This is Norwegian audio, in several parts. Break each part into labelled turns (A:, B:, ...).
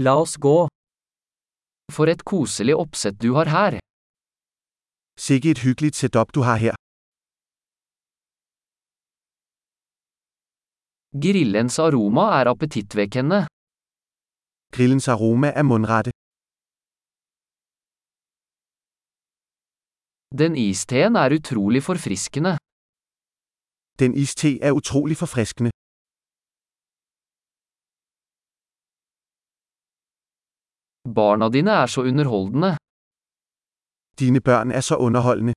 A: La oss gå. For et koselig oppsett du har her.
B: Sikke et hyggeligt setup du har her.
A: Grillens aroma er appetittvekkende.
B: Grillens aroma er mundrette.
A: Den isteen er utrolig forfriskende.
B: Den iste er utrolig forfriskende.
A: Barna dine er så underholdende.
B: Dine børn er så underholdende.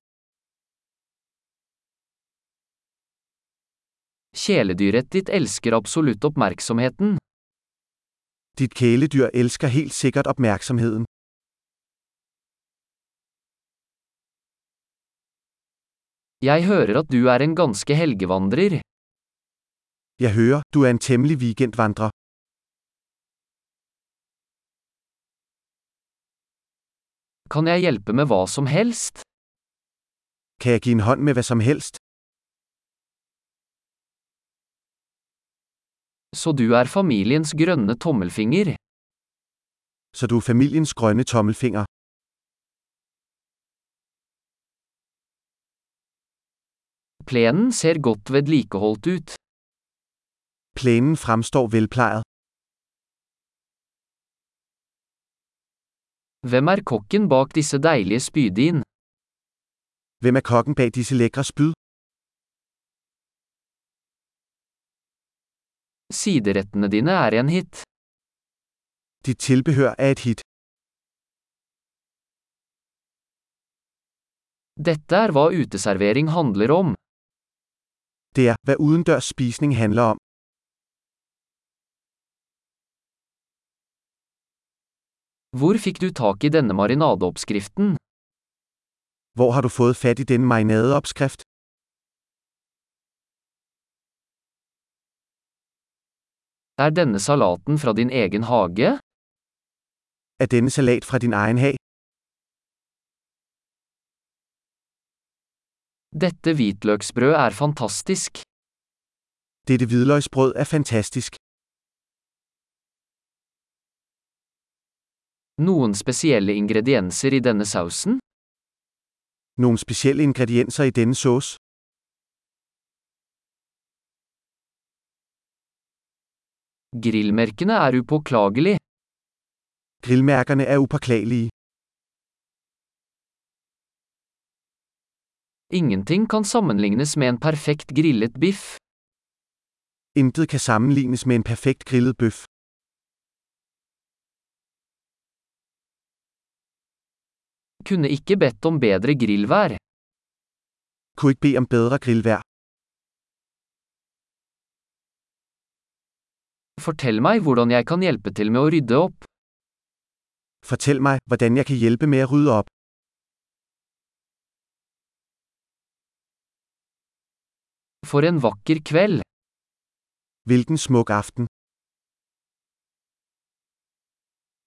A: Kjæledyret ditt elsker absolutt oppmerksomheten.
B: Dit kæledyr elsker helt sikkert opmærksomheden.
A: Jeg hører at du er en ganske helgevandrer.
B: Jeg hører, du er en temmelig weekendvandrer.
A: Kan jeg hjelpe med hva som helst?
B: Kan jeg give en hånd med hvad som helst?
A: Så du er familiens grønne tommelfinger.
B: Så du er familiens grønne tommelfinger.
A: Plenen ser godt vedlikeholdt ut.
B: Plænen fremstår velplejet.
A: Hvem er kokken bak disse deilige spydin?
B: Hvem er kokken bag disse lækre spyd?
A: Siderettene dine er en hit.
B: Dit tilbehør er et hit.
A: Dette er hva uteservering handler om.
B: Det er, hvad udendørs spisning handler om.
A: Hvor fikk du tak i denne marinadeoppskriften?
B: Hvor har du fået fat i denne marinadeopskrift?
A: Er denne salaten fra din egen hage?
B: Er denne salat fra din egen hag?
A: Dette hvitløksbrød er fantastisk.
B: Dette hvidløgsbrød er fantastisk.
A: Noen spesielle ingredienser i denne sausen?
B: Nogle specielle ingredienser i denne sauce.
A: Grillmerkene er upåklagelig.
B: Grillmærkerne er upåklagelige.
A: Ingenting kan sammenlignes med en perfekt grillet biff.
B: Intet kan sammenlignes med en perfekt grillet bøf.
A: Kunne ikke bedt om bedre grillvær.
B: Kunne ikke bede om bedre grillvær.
A: Fortell meg hvordan jeg kan hjelpe til med å rydde opp.
B: Fortæl mig, hvordan jeg kan hjælpe med at rydde op.
A: For en vakker kveld!
B: Hvilken smuk aften.